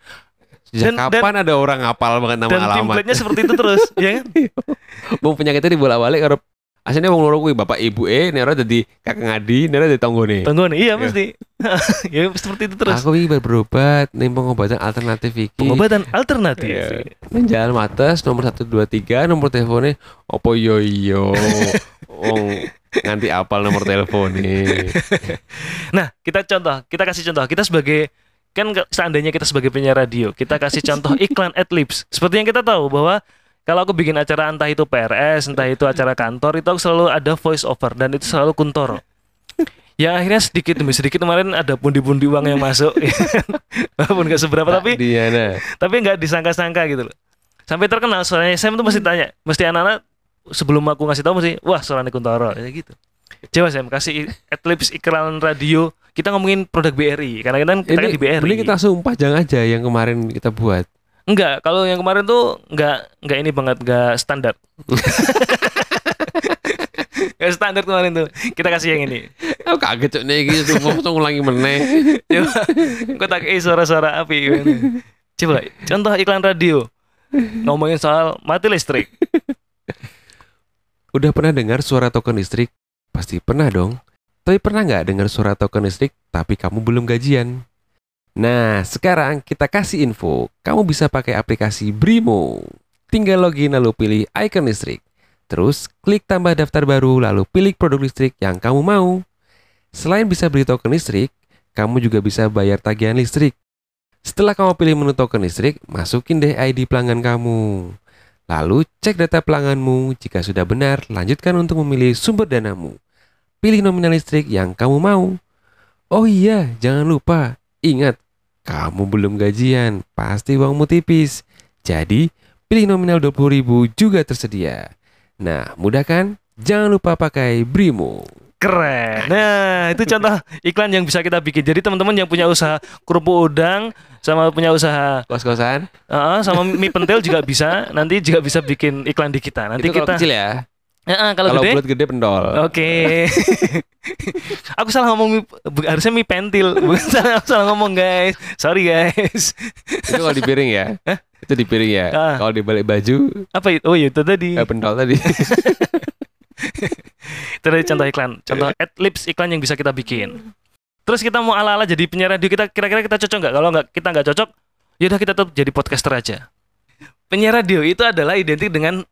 A: Sejak
C: Dan-
A: kapan ada orang ngapal banget nama
C: Dan
A: alamat? Iya.
C: template-nya seperti itu terus, ya kan?
A: Wong penyakitnya dibolak-balik karo aslinya wong loro kuwi bapak ibu e nero dadi kakang Adi nero dadi tanggone.
C: Tunggu nih, iya
A: Iya.
C: mesti. ya seperti itu terus.
A: Aku iki baru berobat ning pengobatan alternatif iki.
C: Pengobatan alternatif.
A: Iya. Ning Jalan Mates nomor 123 nomor teleponnya opo yo yo. iya? Wong nganti apal nomor teleponnya.
C: Nah, kita contoh, kita kasih contoh. Kita sebagai kan ke- seandainya kita sebagai penyiar radio, kita kasih contoh iklan adlibs. Seperti yang kita tahu bahwa kalau aku bikin acara entah itu PRS, entah itu acara kantor, itu aku selalu ada voice over dan itu selalu kuntoro. Ya akhirnya sedikit demi sedikit kemarin ada pundi-pundi uang yang masuk, walaupun nggak seberapa
A: Nah,
C: tapi
A: Diana.
C: tapi nggak disangka-sangka gitu loh. Sampai terkenal suaranya Sam tuh mesti
A: Hmm.
C: tanya, mesti anak-anak sebelum aku ngasih tahu mesti wah suaranya Kuntoro ya gitu. Coba Sam kasih i- adlibs iklan radio. Kita ngomongin produk BRI karena kita kan, kita kan
A: Ini
C: di BRI.
A: ini kita langsung pajang aja yang kemarin kita buat.
C: Enggak, kalau yang kemarin tuh enggak enggak ini banget enggak standar. Enggak standar kemarin tuh. Kita kasih yang ini.
A: Aku kaget cok nih gitu, langsung ulangi meneh.
C: Coba kau tak kei suara-suara api. Coba contoh iklan radio. Ngomongin soal mati listrik.
A: Udah pernah dengar suara token listrik? Pasti pernah dong. Tapi pernah nggak dengar suara token listrik tapi kamu belum gajian? Nah, sekarang kita kasih info. Kamu bisa pakai aplikasi Brimo. Tinggal login lalu pilih icon listrik. Terus klik tambah daftar baru lalu pilih produk listrik yang kamu mau. Selain bisa beli token listrik, kamu juga bisa bayar tagihan listrik. Setelah kamu pilih menu token listrik, masukin deh ID pelanggan kamu. Lalu cek data pelangganmu. Jika sudah benar, lanjutkan untuk memilih sumber danamu. Pilih nominal listrik yang kamu mau. Oh iya, jangan lupa. Ingat, kamu belum gajian. Pasti uangmu tipis. Jadi, pilih nominal 20.000 juga tersedia. Nah, mudah kan? Jangan lupa pakai Brimo.
C: Keren. Nah, itu contoh iklan yang bisa kita bikin. Jadi teman-teman yang punya usaha kerupuk udang sama punya usaha
A: Kos-kosan?
C: eh, sama mie pentil juga bisa. Nanti juga bisa bikin iklan di kita. Nanti
A: Itu kalau
C: kita
A: kecil ya.
C: Eh, eh, kalau
A: Kalau
C: gede Oh.
A: bulat gede pendol.
C: Oke. Aku salah ngomong mie, bu- harusnya mie pentil. Bukan salah aku salah ngomong, guys. Sorry, guys.
A: Itu kalau di piring ya. Itu di piring ya.
C: Ah.
A: Kalau di balik baju,
C: Apa itu? Oh, iya, itu tadi.
A: eh, pendol tadi.
C: Itu tadi contoh iklan. Contoh adlibs iklan yang bisa kita bikin. Terus kita mau ala-ala jadi penyiar radio kita kira-kira kita cocok nggak? Kalau nggak kita nggak cocok, yaudah kita tetap jadi podcaster aja. Penyiar radio itu adalah identik dengan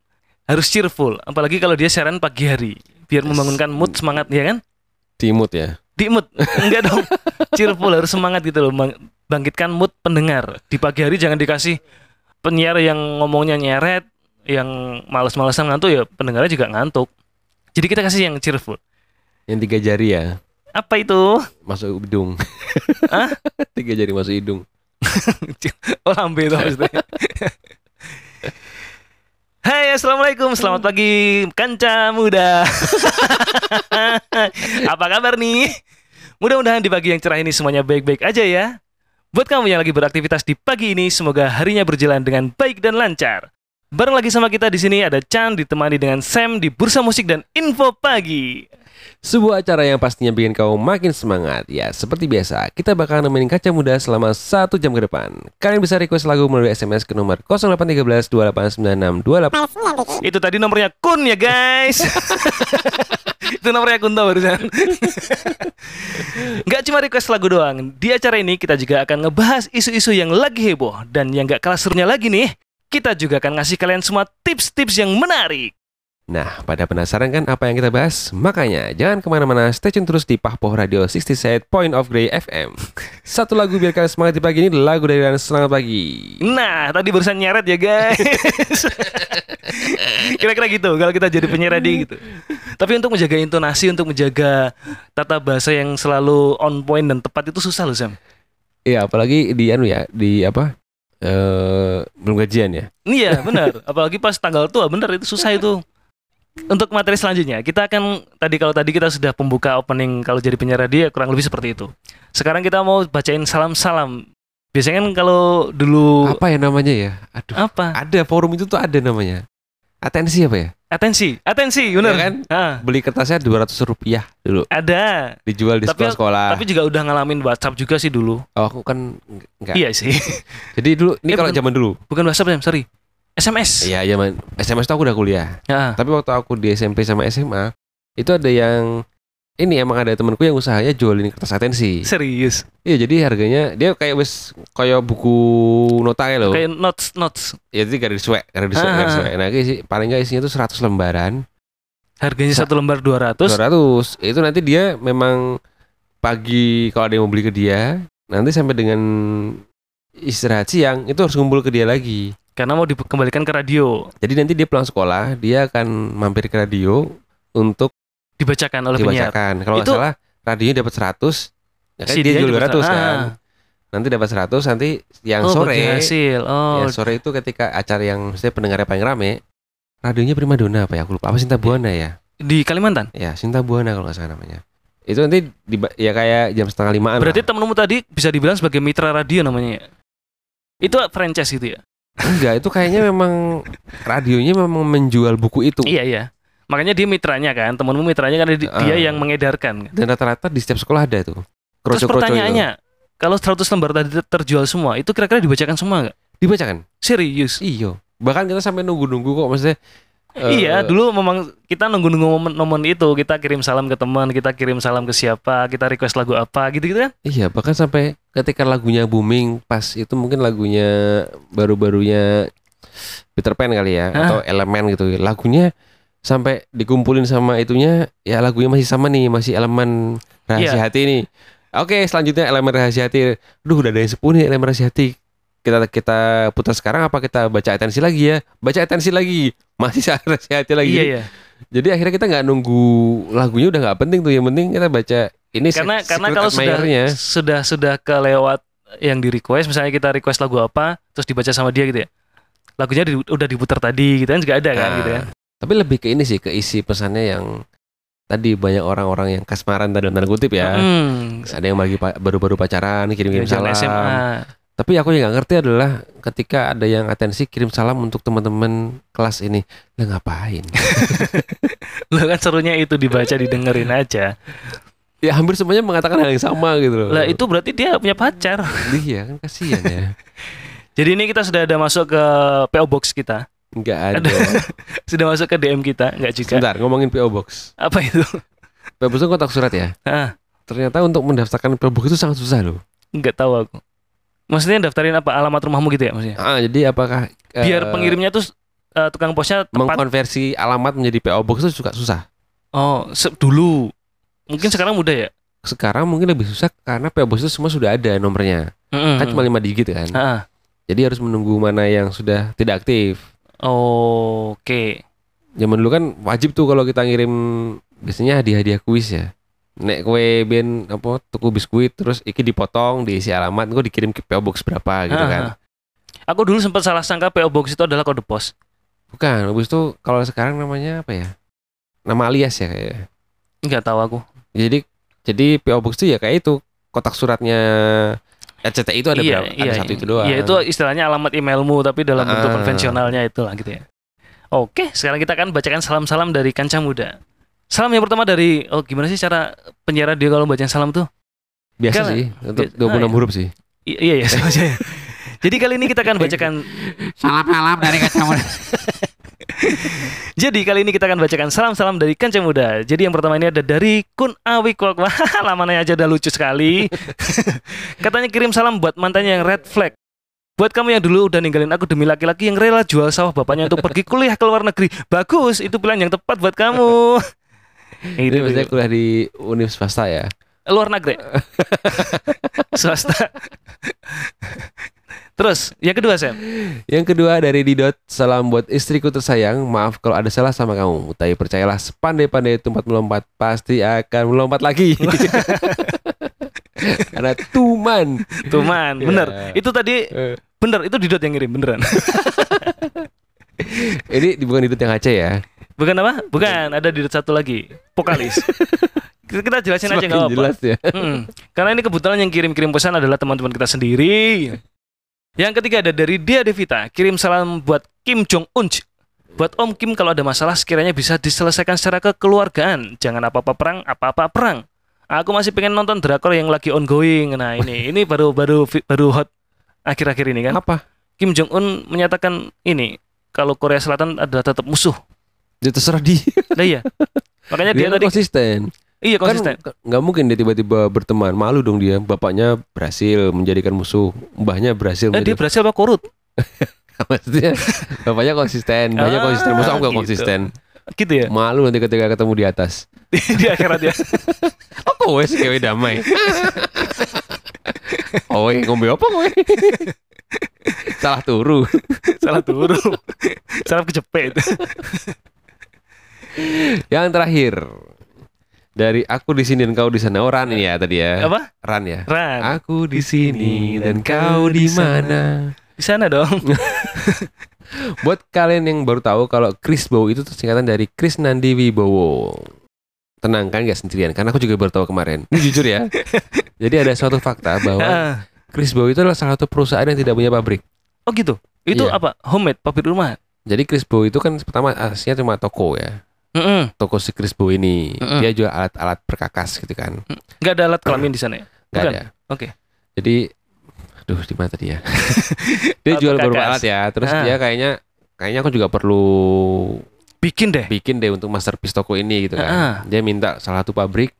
C: harus cheerful, apalagi kalau dia siaran pagi hari, biar membangunkan mood semangat ya kan?
A: Timut ya.
C: Di mood enggak dong, cheerful harus semangat gitu loh, bang- bangkitkan mood pendengar. Di pagi hari jangan dikasih penyiar yang ngomongnya nyeret, yang males-malesan ngantuk ya pendengarnya juga ngantuk. Jadi kita kasih yang cheerful.
A: Yang tiga jari ya.
C: Apa itu?
A: masuk hidung. Tiga jari masuk hidung.
C: Oh lambe itu maksudnya. Hai assalamualaikum selamat pagi kanca muda Apa kabar nih? Mudah-mudahan di pagi yang cerah ini semuanya baik-baik aja ya Buat kamu yang lagi beraktivitas di pagi ini semoga harinya berjalan dengan baik dan lancar Bareng lagi sama kita di sini ada Chan ditemani dengan Sam di Bursa Musik dan Info Pagi
A: Sebuah acara yang pastinya bikin kamu makin semangat. Ya, seperti biasa, kita bakal nemenin kaca muda selama satu jam ke depan. Kalian bisa request lagu melalui SMS ke nomor 0813 2896 28.
C: Itu tadi nomornya Kun ya guys. Itu nomornya Kun tau barusan. Gak cuma request lagu doang. Di acara ini kita juga akan ngebahas isu-isu yang lagi heboh dan yang gak kalah serunya lagi nih. Kita juga akan ngasih kalian semua tips-tips yang menarik.
A: Nah, pada penasaran kan apa yang kita bahas? Makanya, jangan kemana-mana, stay tune terus di Pahpoh Radio 67 Point of Grey FM. Satu lagu biar kalian semangat di pagi ini, lagu dari Rans Selamat Pagi.
C: Nah, tadi barusan nyeret ya guys. Kira-kira gitu kalau kita jadi penyiar radio gitu. Tapi untuk menjaga intonasi, untuk menjaga tata bahasa yang selalu on point dan tepat itu susah loh Sam.
A: Iya, apalagi di anu ya, di apa? eh, belum gajian ya.
C: Iya benar, apalagi pas tanggal tua benar itu susah itu. Untuk materi selanjutnya kita akan tadi kalau tadi kita sudah pembuka opening kalau jadi penyiar radio kurang lebih seperti itu. Sekarang kita mau bacain salam-salam. Biasanya kan kalau dulu
A: Apa ya namanya ya? Aduh.
C: apa?
A: Ada forum itu tuh ada namanya. Atensi apa ya?
C: Atensi, atensi,
A: Iya
C: benar kan?
A: kan? Beli kertasnya 200 rupiah dulu.
C: ada,
A: Dijual di
C: Tapi-
A: sekolah-sekolah.
C: tapi juga udah ngalamin WhatsApp juga sih dulu.
A: Oh, aku kan enggak.
C: Iya sih,
A: Jadi dulu ini
C: Eh,
A: kalau
C: bukan-
A: zaman dulu.
C: bukan WhatsApp Sam, sorry, SMS.
A: Iya, zaman SMS tuh aku udah kuliah.
C: Ya.
A: Tapi waktu aku di SMP sama SMA, itu ada yang ini emang ada temanku yang usahanya jualin kertas atensi.
C: Serius,
A: Iya, jadi harganya dia kayak wes kayak buku nota kayak loh.
C: kayak notes notes
A: Ya jadi garis suwek, garis suwek,
C: Ah.
A: garis suwek. Nah, isi, paling nggak isinya tuh 100 lembaran.
C: harganya
A: Sa-
C: satu lembar 200
A: 200. Itu nanti dia memang pagi kalau ada yang mau beli ke dia, nanti sampai dengan istirahat siang itu harus ngumpul ke dia lagi.
C: karena mau dikembalikan ke radio
A: Jadi nanti dia pulang sekolah, dia akan mampir ke radio untuk
C: dibacakan oleh penyiar.
A: dibacakan. Kalau nggak
C: Itu-
A: salah radionya dapat 100. Ya kan dia
C: CD-nya
A: jual
C: juga
A: 200
C: sama.
A: kan. Nanti dapat 100, nanti yang
C: Ah. oh,
A: sore
C: bagi hasil. Oh,
A: Ya, sore itu ketika acara yang saya pendengarnya paling rame, radionya Primadona apa ya? Aku lupa. Apa Sinta Buana ya?
C: di Kalimantan.
A: Ya, Sinta Buana kalau nggak salah namanya. Itu nanti di, ya kayak jam setengah limaan. lah.
C: Berarti temenmu tadi bisa dibilang sebagai mitra radio namanya ya. Itu franchise gitu ya.
A: enggak, itu kayaknya memang radionya memang menjual buku itu.
C: Iya, iya. Makanya dia mitranya kan, temenmu mitranya karena di- dia
A: Ah.
C: yang mengedarkan. kan.
A: Dan rata-rata di setiap sekolah ada tuh. Kroco-kroco
C: Terus
A: itu.
C: pertanyaannya, kalau 100 lembar tadi ter- terjual semua, itu kira-kira dibacakan semua nggak?
A: dibacakan.
C: Serius?
A: Iyo. Bahkan kita sampai nunggu-nunggu kok maksudnya. eh,
C: iya, dulu memang kita nunggu-nunggu momen, momen itu, kita kirim salam ke teman, kita kirim salam ke siapa, kita request lagu apa, gitu-gitu kan?
A: Iya, bahkan sampai ketika lagunya booming pas itu mungkin lagunya baru-barunya Peter Pan kali ya
C: Hah?
A: atau elemen gitu. Lagunya sampai dikumpulin sama itunya ya lagunya masih sama nih, masih elemen rahasia
C: Iya.
A: hati nih. Oke, selanjutnya elemen rahasia hati. Duh, udah ada yang 10 nih elemen rahasia hati. Kita kita putar sekarang apa kita baca atensi lagi ya? Baca atensi lagi. Masih rahasia hati lagi.
C: Iya, iya.
A: Jadi akhirnya kita nggak nunggu lagunya udah nggak penting tuh. Yang penting kita baca ini se-
C: karena
A: Iya
C: karena
A: secret
C: kalau sudah
A: admirer-nya.
C: sudah sudah kelewat yang di request misalnya kita request lagu apa terus dibaca sama dia gitu ya lagunya di- udah diputar tadi gitu kan juga ada kan
A: Ah,
C: gitu ya
A: Tapi lebih ke ini sih, ke isi pesannya yang tadi banyak orang-orang yang kasmaran tadi tanda kutip ya.
C: Hmm. Ya
A: Ada yang lagi pa- baru-baru pacaran, kirim-kirim salam.
C: Jalan SMA
A: Tapi aku yang nggak ngerti adalah ketika ada yang atensi kirim salam untuk teman-teman kelas ini, lah ngapain?
C: Lah kan serunya itu dibaca didengerin aja
A: ya hampir semuanya mengatakan hal yang sama gitu loh.
C: lah itu berarti dia punya pacar
A: iya kan kasihan ya.
C: jadi ini kita sudah ada masuk ke PO Box kita
A: Nggak ada.
C: sudah masuk ke DM kita nggak juga
A: Sebentar ngomongin PO Box.
C: apa itu
A: PO Box itu kotak surat ya.
C: ah
A: Ternyata untuk mendaftarkan PO Box itu sangat susah loh.
C: nggak tahu aku maksudnya daftarin apa alamat rumahmu gitu ya maksudnya
A: Ah, jadi apakah eh,
C: biar pengirimnya tuh eh, tukang posnya tepat
A: mengkonversi alamat menjadi PO Box itu juga susah.
C: Oh, se- dulu. Mungkin sekarang udah ya?
A: sekarang mungkin lebih susah karena PO Box itu semua sudah ada nomornya. Kan cuma 5 digit kan.
C: Hmm. Ah,
A: Jadi harus menunggu mana yang sudah tidak aktif.
C: Oke.
A: Zaman dulu kan wajib tuh kalau kita ngirim biasanya hadiah-hadiah kuis ya. Nek kue ben apa tuku biskuit terus iki dipotong diisi alamat gue dikirim ke PO Box berapa gitu kan.
C: Ah. Aku dulu sempat salah sangka PO Box itu adalah kode pos.
A: Bukan, habis itu kalau sekarang namanya apa ya? Nama alias ya kayaknya.
C: Enggak tahu aku.
A: Jadi jadi PO Box itu ya kayak itu kotak suratnya E RCTI itu ada berapa? ada satu itu doang.
C: Iya, itu istilahnya alamat emailmu tapi dalam bentuk
A: Ah.
C: konvensionalnya itulah gitu ya. Oke, sekarang kita akan bacakan salam-salam dari Kanca Muda. Salam yang pertama dari oh gimana sih cara penyiar dia kalau bacain salam tuh?
A: Biasa
C: Kan-
A: sih, untuk
C: biasa-
A: 26
C: ah, iya.
A: huruf sih.
C: I- iya ya, sama aja ya. Jadi kali ini kita akan
A: Iya.
C: bacakan
D: Salam-salam dari kacamata.
C: Jadi kali ini kita akan bacakan salam-salam dari Kancah Muda. Jadi yang pertama ini ada dari Kun Awi Kwok. Wah, lamannya aja udah lucu sekali. Katanya kirim salam buat mantannya yang red flag. Buat kamu yang dulu udah ninggalin aku demi laki-laki yang rela jual sawah bapaknya untuk pergi kuliah ke luar negeri. Bagus, itu pilihan yang tepat buat kamu.
A: Ini biasanya
C: itu iya.
A: kuliah di univ swasta ya.
C: luar negeri. Swasta. Terus, yang kedua, Sam.
A: Yang kedua dari Didot, salam buat istriku tersayang. Maaf kalau ada salah sama kamu. Tapi percayalah, sepandai-pandai tumpat melompat pasti akan melompat lagi. ada tuman.
C: Tuman,
A: Iya.
C: bener. Itu tadi
A: Eh,
C: Bener, itu Didot yang ngirim beneran.
A: Ini bukan itu yang Aceh ya.
C: Bukan apa? Bukan, ada Didot satu lagi, vokalis. kita kita jelasin aja
A: Semakin
C: nggak apa-apa.
A: jelas ya.
C: Mm-mm. Karena ini kebetulan yang kirim-kirim pesan adalah teman-teman kita sendiri. Yang ketiga ada dari Dia Devita, kirim salam buat Kim Jong Un. Buat Om Kim kalau ada masalah sekiranya bisa diselesaikan secara kekeluargaan. Jangan apa-apa perang, apa-apa perang. Aku masih pengen nonton drakor yang lagi ongoing. Nah, ini ini baru baru baru hot akhir-akhir ini kan.
A: Apa?
C: Kim Jong Un menyatakan ini kalau Korea Selatan adalah tetap musuh.
A: Dia terserah dia.
C: Nah iya. Makanya
A: dia
C: dia
A: kan
C: tadi
A: konsisten.
C: iya konsisten.
A: Kan nggak mungkin dia tiba-tiba berteman. Malu dong dia. Bapaknya berhasil menjadikan musuh. Mbahnya berhasil.
C: Eh, dia
A: menjadi-
C: berhasil apa korut?
A: Maksudnya bapaknya konsisten. Mbahnya
C: Ah,
A: konsisten. Masa aku nggak
C: gitu.
A: konsisten?
C: Gitu ya.
A: Malu nanti ketika ketemu di atas.
C: di akhirat ya.
A: Apa wes gawe damai? Oe ngombe apa kowe? Salah turu.
C: salah turu salah kejepit
A: Eh. Yang terakhir dari aku di sini dan kau di sana. Oh, Ran ini ya tadi ya.
C: apa
A: Ran ya.
C: Ran
A: Aku di sini dan kau di mana?
C: di sana dong
A: Buat kalian yang baru tahu kalau Chris Bow itu tuh singkatan dari Chris Nandi Wibowo. Tenang kan gak sendirian karena aku juga baru tahu kemarin. Ini jujur ya. Jadi ada suatu fakta bahwa
C: Ah.
A: Chris Bow itu adalah salah satu perusahaan yang tidak punya pabrik.
C: oh gitu itu
A: Iya.
C: apa homemade pabrik rumah
A: Jadi Chris Bow itu kan pertama aslinya cuma toko ya.
C: Mm-mm.
A: Toko si Chris Bow ini.
C: Mm-mm.
A: Dia jual alat-alat perkakas gitu kan.
C: nggak ada alat
A: Ah.
C: kelamin di sana ya
A: Gak
C: Bukan.
A: ada.
C: Oke.
A: Jadi aduh di mana tadi ya? dia
C: Alat
A: jual beberapa
C: perkakas.
A: alat ya. Terus
C: Ah.
A: dia kayaknya kayaknya aku juga perlu
C: bikin deh
A: bikin deh untuk masterpiece toko ini gitu kan.
C: Ah.
A: Dia minta salah satu pabrik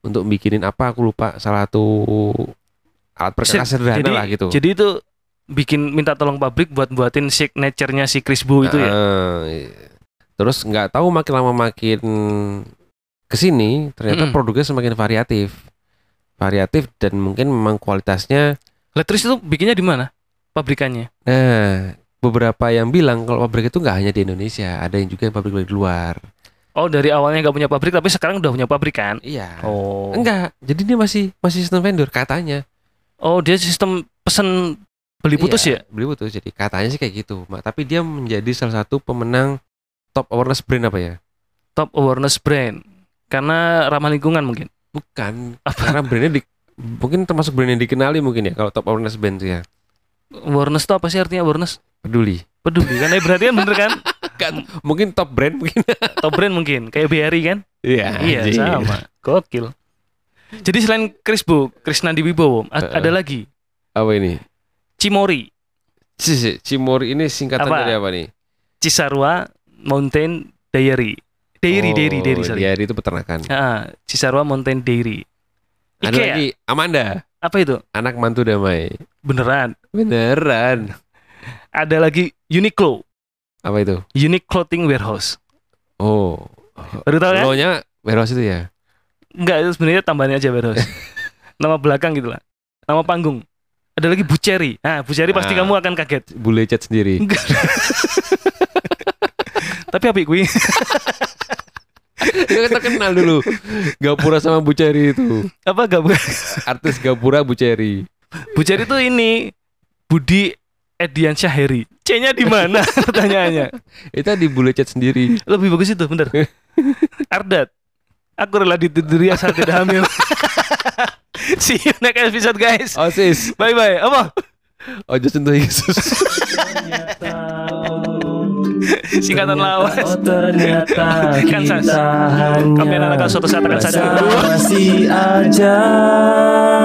A: untuk bikinin apa aku lupa salah satu alat perkakas sederhana
C: jadi
A: lah gitu.
C: jadi itu bikin minta tolong pabrik buat buatin signaturenya si Chris Bu itu ya
A: Ah, iya. Terus nggak tahu makin lama makin kesini ternyata
C: Mm-mm.
A: produknya semakin variatif, variatif dan mungkin memang kualitasnya.
C: lah terus itu bikinnya di mana pabrikannya
A: Nah, beberapa yang bilang kalau pabrik itu nggak hanya di Indonesia, ada yang juga yang pabrik dari luar.
C: oh dari awalnya nggak punya pabrik tapi sekarang udah punya pabrik kan
A: Iya.
C: oh
A: Enggak, jadi dia masih masih sistem vendor katanya.
C: oh dia sistem pesen beli putus ya?
A: Iya, Beli putus. Jadi katanya sih kayak gitu, Mak. Tapi dia menjadi salah satu pemenang top awareness brand apa ya?
C: ya top awareness brand karena ramah lingkungan mungkin
A: Bukan, karena brandnya di- mungkin termasuk brand yang dikenali mungkin ya kalau top awareness brand tuh ya.
C: awareness itu apa sih artinya awareness
A: Peduli.
C: peduli kan eh, berarti kan bener kan
A: Mungkin top brand mungkin.
C: top brand mungkin kayak BRI kan iya
A: anjing.
C: sama gokil jadi selain Chris Bu Krisnandi Wibowo a-
A: Heeh.
C: ada lagi
A: Apa ini?
C: Cimori
A: C- C- Cimori ini singkatan
C: Apa?
A: dari apa nih?
C: Cisarua Mountain Dairy Dairy
A: Oh,
C: Dairy Dairy sorry
A: Dairy itu peternakan.
C: Ah, Cisarua Mountain Dairy
A: Ada
C: Ikea
A: lagi Amanda,
C: apa itu
A: anak mantu damai.
C: beneran
A: Beneran.
C: ada lagi Uniqlo
A: Apa itu?
C: Unique Clothing Warehouse
A: Oh.
C: baru tahu kan
A: Lo-nya warehouse itu ya?
C: enggak itu sebenarnya tambahannya aja warehouse nama belakang gitu lah nama panggung ada lagi Bu Cherry ah Bu Cherry pasti
A: Ah.
C: kamu akan kaget
A: Bule cat sendiri.
C: Enggak. Tapi apa gue?
A: Itu kita kenal dulu. Gapura sama Bu Ceri itu.
C: Apa gak Bu?
A: Artis Gapura Bu Ceri.
C: Bu Ceri tuh ini Budi Edian Syaheri. C-nya di mana? Pertanyaannya.
A: Itu di bule cat sendiri.
C: Lebih bagus itu, bener. Ardat. Aku rela ditiduri asal tidak hamil. See you next episode guys.
A: Oh, Osis.
C: Bye bye. Apa?
A: Ojo sentuh Yesus.
C: Singkatan lawas.
B: Oh ternyata
C: Kan, Sas.
B: kita hanya
C: Kami anak-anak suatu saat akan sadar.
B: bersama si aja